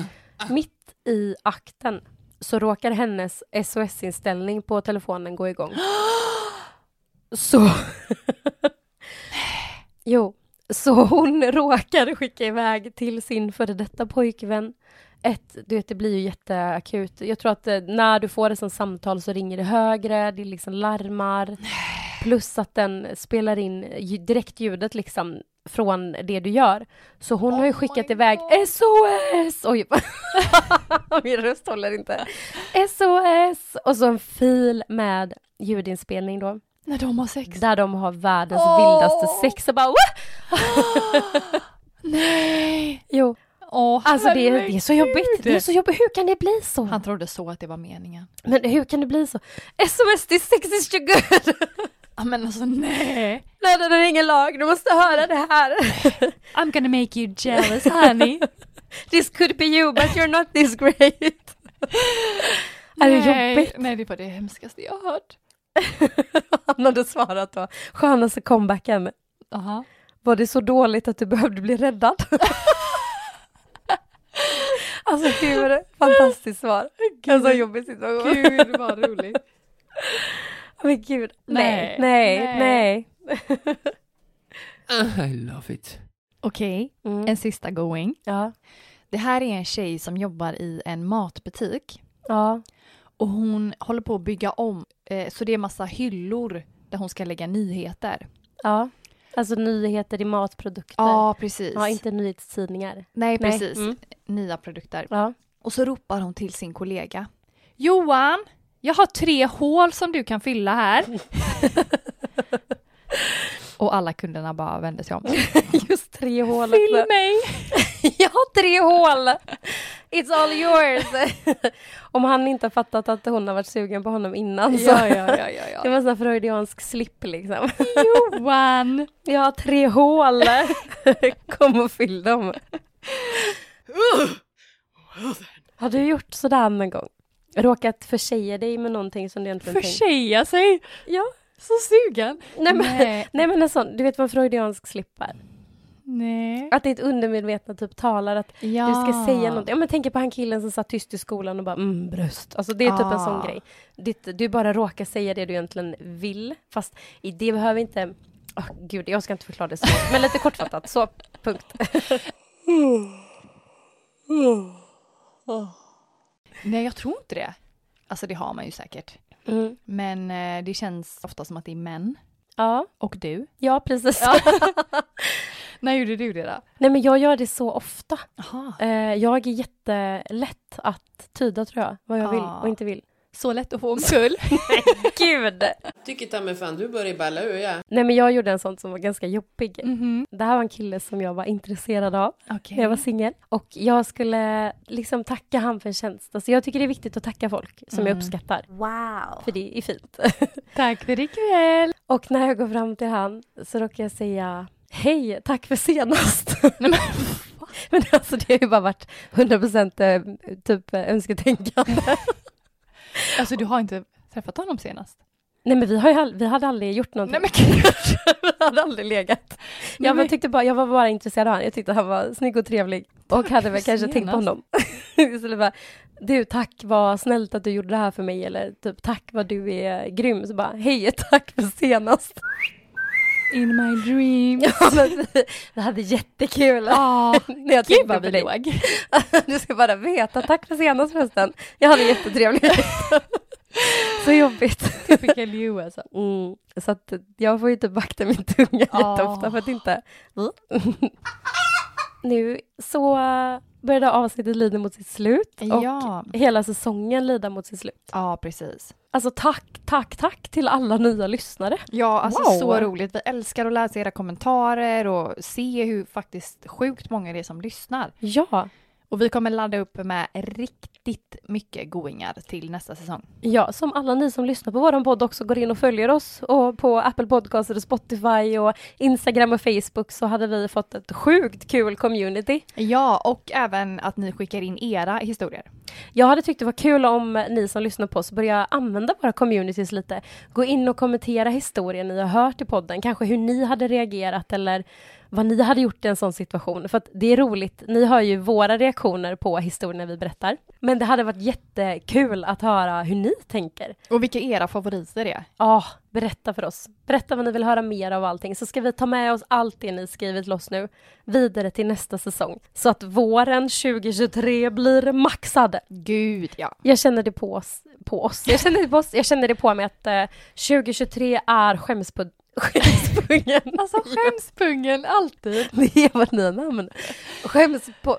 Speaker 1: Mitt i akten så råkar hennes SOS-inställning på telefonen gå igång. så... jo, Så hon råkar skicka iväg till sin före detta pojkvän ett, du vet, det blir ju jätteakut. Jag tror att eh, när du får ett sånt samtal så ringer det högre, det liksom larmar. Plus att den spelar in ju- direktljudet liksom från det du gör. Så hon har ju skickat iväg SOS! Oj, min röst håller inte. SOS! Och så en fil med ljudinspelning då.
Speaker 2: När de har sex.
Speaker 1: Där de har världens
Speaker 2: Åh.
Speaker 1: vildaste sex och bara Wah!
Speaker 2: Nej!
Speaker 1: Jo,
Speaker 2: Åh,
Speaker 1: alltså det, är- det är så jobbigt. Det är så jobbigt. Hur kan det bli så?
Speaker 2: Han trodde så att det var meningen.
Speaker 1: Men hur kan det bli så? SOS, this sex is too good!
Speaker 2: Ja, Men alltså nej!
Speaker 1: Nej, det är ingen lag, du måste höra det här.
Speaker 2: I'm gonna make you jealous honey.
Speaker 1: This could be you, but you're not this great. Är det
Speaker 2: Nej,
Speaker 1: jobbigt?
Speaker 2: Nej, det var det hemskaste jag har hört.
Speaker 1: Han hade svarat då. Skönaste comebacken.
Speaker 2: Aha.
Speaker 1: Var det så dåligt att du behövde bli räddad? alltså hur fantastiskt svar. En så jobbig situation.
Speaker 2: Gud vad roligt.
Speaker 1: Men gud. Nej, nej,
Speaker 2: Nej,
Speaker 1: nej.
Speaker 2: nej.
Speaker 3: Uh, I love it.
Speaker 2: Okej,
Speaker 1: Mm.
Speaker 2: en sista going.
Speaker 1: Ja.
Speaker 2: Det här är en tjej som jobbar i en matbutik.
Speaker 1: ja.
Speaker 2: Och hon håller på att bygga om, eh, så det är massa hyllor där hon ska lägga nyheter.
Speaker 1: Ja, alltså nyheter i matprodukter.
Speaker 2: precis.
Speaker 1: ja inte nyhetstidningar.
Speaker 2: Nej,
Speaker 1: Nej,
Speaker 2: precis.
Speaker 1: mm.
Speaker 2: Nya produkter.
Speaker 1: Ja.
Speaker 2: Och så ropar hon till sin kollega. Johan, jag har tre hål som du kan fylla här. och alla kunderna bara vände sig om.
Speaker 1: Just tre hål.
Speaker 2: Fyll mig!
Speaker 1: Jag har tre hål! It's all yours! Om han inte har fattat att hon har varit sugen på honom innan så.
Speaker 2: Ja, ja, ja, ja,
Speaker 1: Det
Speaker 2: ja.
Speaker 1: var en sån här freudiansk slipp liksom.
Speaker 2: Johan!
Speaker 1: Jag har tre hål! Kom och fyll dem. Har du gjort sådär någon gång? Råkat försäga dig med någonting som du egentligen tänkt?
Speaker 2: Förtjeja sig!
Speaker 1: Ja.
Speaker 2: Så sugen!
Speaker 1: Nej men,
Speaker 2: Nej.
Speaker 1: nej men en sån, du vet vad en freudiansk slipp är?
Speaker 2: Nej.
Speaker 1: Att ditt undermedvetna typ talar att
Speaker 2: Ja.
Speaker 1: du ska säga något. Ja, men tänk på han killen som satt tyst i skolan och bara mm, bröst. Alltså det är typ en
Speaker 2: Ah.
Speaker 1: sån grej. Ditt, du bara råkar säga det du egentligen vill. Fast i det behöver inte... Åh, gud, jag ska inte förklara det så. Men lite kortfattat, så punkt.
Speaker 2: Nej, jag tror inte det. Alltså det har man ju säkert.
Speaker 1: Mm.
Speaker 2: Men eh, det känns ofta som att det är män.
Speaker 1: Ja,
Speaker 2: Och du?
Speaker 1: ja precis.
Speaker 2: När gjorde du det då?
Speaker 1: Nej men jag gör det så ofta.
Speaker 2: Aha.
Speaker 1: Eh, jag är jättelätt att tyda tror jag, vad jag vill
Speaker 2: Ah.
Speaker 1: och inte vill.
Speaker 2: Så lätt att få omkull.
Speaker 1: Gud!
Speaker 5: Tycker ta mig fan du börjar balla ur ja.
Speaker 1: Nej men jag gjorde en sån som var ganska jobbig.
Speaker 2: Mhm.
Speaker 1: Det här var en kille som jag var intresserad av.
Speaker 2: Okej.
Speaker 1: när jag var singel. Och jag skulle liksom tacka han för en tjänst. Alltså jag tycker det är viktigt att tacka folk som jag uppskattar.
Speaker 6: Wow.
Speaker 1: För det är fint.
Speaker 2: Tack för ikväll.
Speaker 1: och när jag går fram till han så råkar jag säga Hej, tack för senast.
Speaker 2: Nej, men,
Speaker 1: Men alltså det har ju bara varit 100% eh, typ eh, önsketänkande.
Speaker 2: alltså du har inte träffat honom senast?
Speaker 1: Nej men vi, har ju, ald- vi hade aldrig gjort någonting.
Speaker 2: Nej men gud.
Speaker 1: vi hade aldrig legat. Jag, bara
Speaker 2: men-
Speaker 1: tyckte bara, jag var bara intresserad av honom. Jag tyckte han var snygg och trevlig. Och hade väl
Speaker 2: för
Speaker 1: kanske tänkt på
Speaker 2: senast.
Speaker 1: honom. Istället bara, du tack vad snällt att du gjorde det här för mig. Eller typ tack vad du är grym. Så bara, hej tack för senast.
Speaker 2: In my dream.
Speaker 1: Ja, men vi- vi hade jättekul.
Speaker 2: Ja.
Speaker 1: När jag
Speaker 2: Gud
Speaker 1: tänkte
Speaker 2: vad
Speaker 1: på
Speaker 2: vi
Speaker 1: dig.
Speaker 2: låg.
Speaker 1: Du ska bara veta, tack för senast förresten. Jag hade jättetrevligt. Så jobbigt.
Speaker 2: Typical you alltså.
Speaker 1: Mm, så att jag får ju inte vakta min tunga
Speaker 2: Ah.
Speaker 1: jätteofta för att inte... Mm. nu så eh, började avsnittet lida mot sitt slut och
Speaker 2: Ja.
Speaker 1: hela säsongen lida mot sitt slut.
Speaker 2: Ja precis.
Speaker 1: Alltså tack, tack, tack till alla nya lyssnare.
Speaker 2: Ja alltså
Speaker 1: Wow.
Speaker 2: så roligt. Vi älskar att läsa era kommentarer och se hur faktiskt sjukt många det är som lyssnar.
Speaker 1: Ja,
Speaker 2: Och vi kommer ladda upp med riktigt mycket goingar till nästa säsong.
Speaker 1: ja, som alla ni som lyssnar på våran podd också går in och följer oss och på Apple Podcaster och Spotify och Instagram och Facebook så hade vi fått ett sjukt kul community.
Speaker 2: Ja, och även att ni skickar in era historier.
Speaker 1: Jag hade tyckt det var kul om ni som lyssnar på oss börjar använda våra communities lite. Gå in och kommentera historier ni har hört i podden, kanske hur ni hade reagerat eller vad ni hade gjort i en sån situation. För att det är roligt, ni hör ju våra reaktioner på historierna vi berättar. Men det hade varit jättekul att höra hur ni tänker.
Speaker 2: Och vilka era favoriter är.
Speaker 1: Ja, Berätta för oss. Berätta vad ni vill höra mer av allting, så ska vi ta med oss allt det ni skrivit loss nu vidare till nästa säsong, så att våren 2023 blir maxad.
Speaker 2: Gud ja.
Speaker 1: Jag känner det på oss. På oss. Jag, känner det på oss. jag känner det på mig att eh, 2023 är skämspud... Skämspungen.
Speaker 2: Alltså skämspungen alltid.
Speaker 1: Det är vårt nya namn. Skäms på...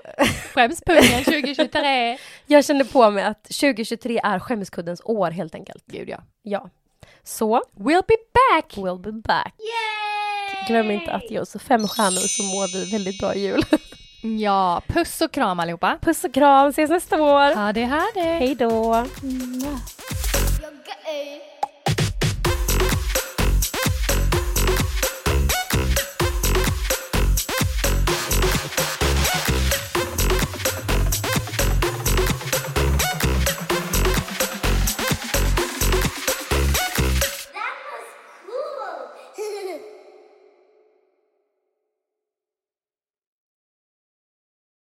Speaker 2: Skämspungen 2023.
Speaker 1: Jag känner på mig att 2023 är skämskuddens år helt enkelt.
Speaker 2: Gud ja.
Speaker 1: Ja. Så,
Speaker 2: We'll be back!
Speaker 1: we'll be back. Glöm inte att ge oss fem stjärnor så mår vi väldigt bra i jul.
Speaker 2: Ja, puss och kram allihopa.
Speaker 1: Puss och kram, ses nästa år.
Speaker 2: Ha det, ha det.
Speaker 1: Hej då.
Speaker 7: You're gay.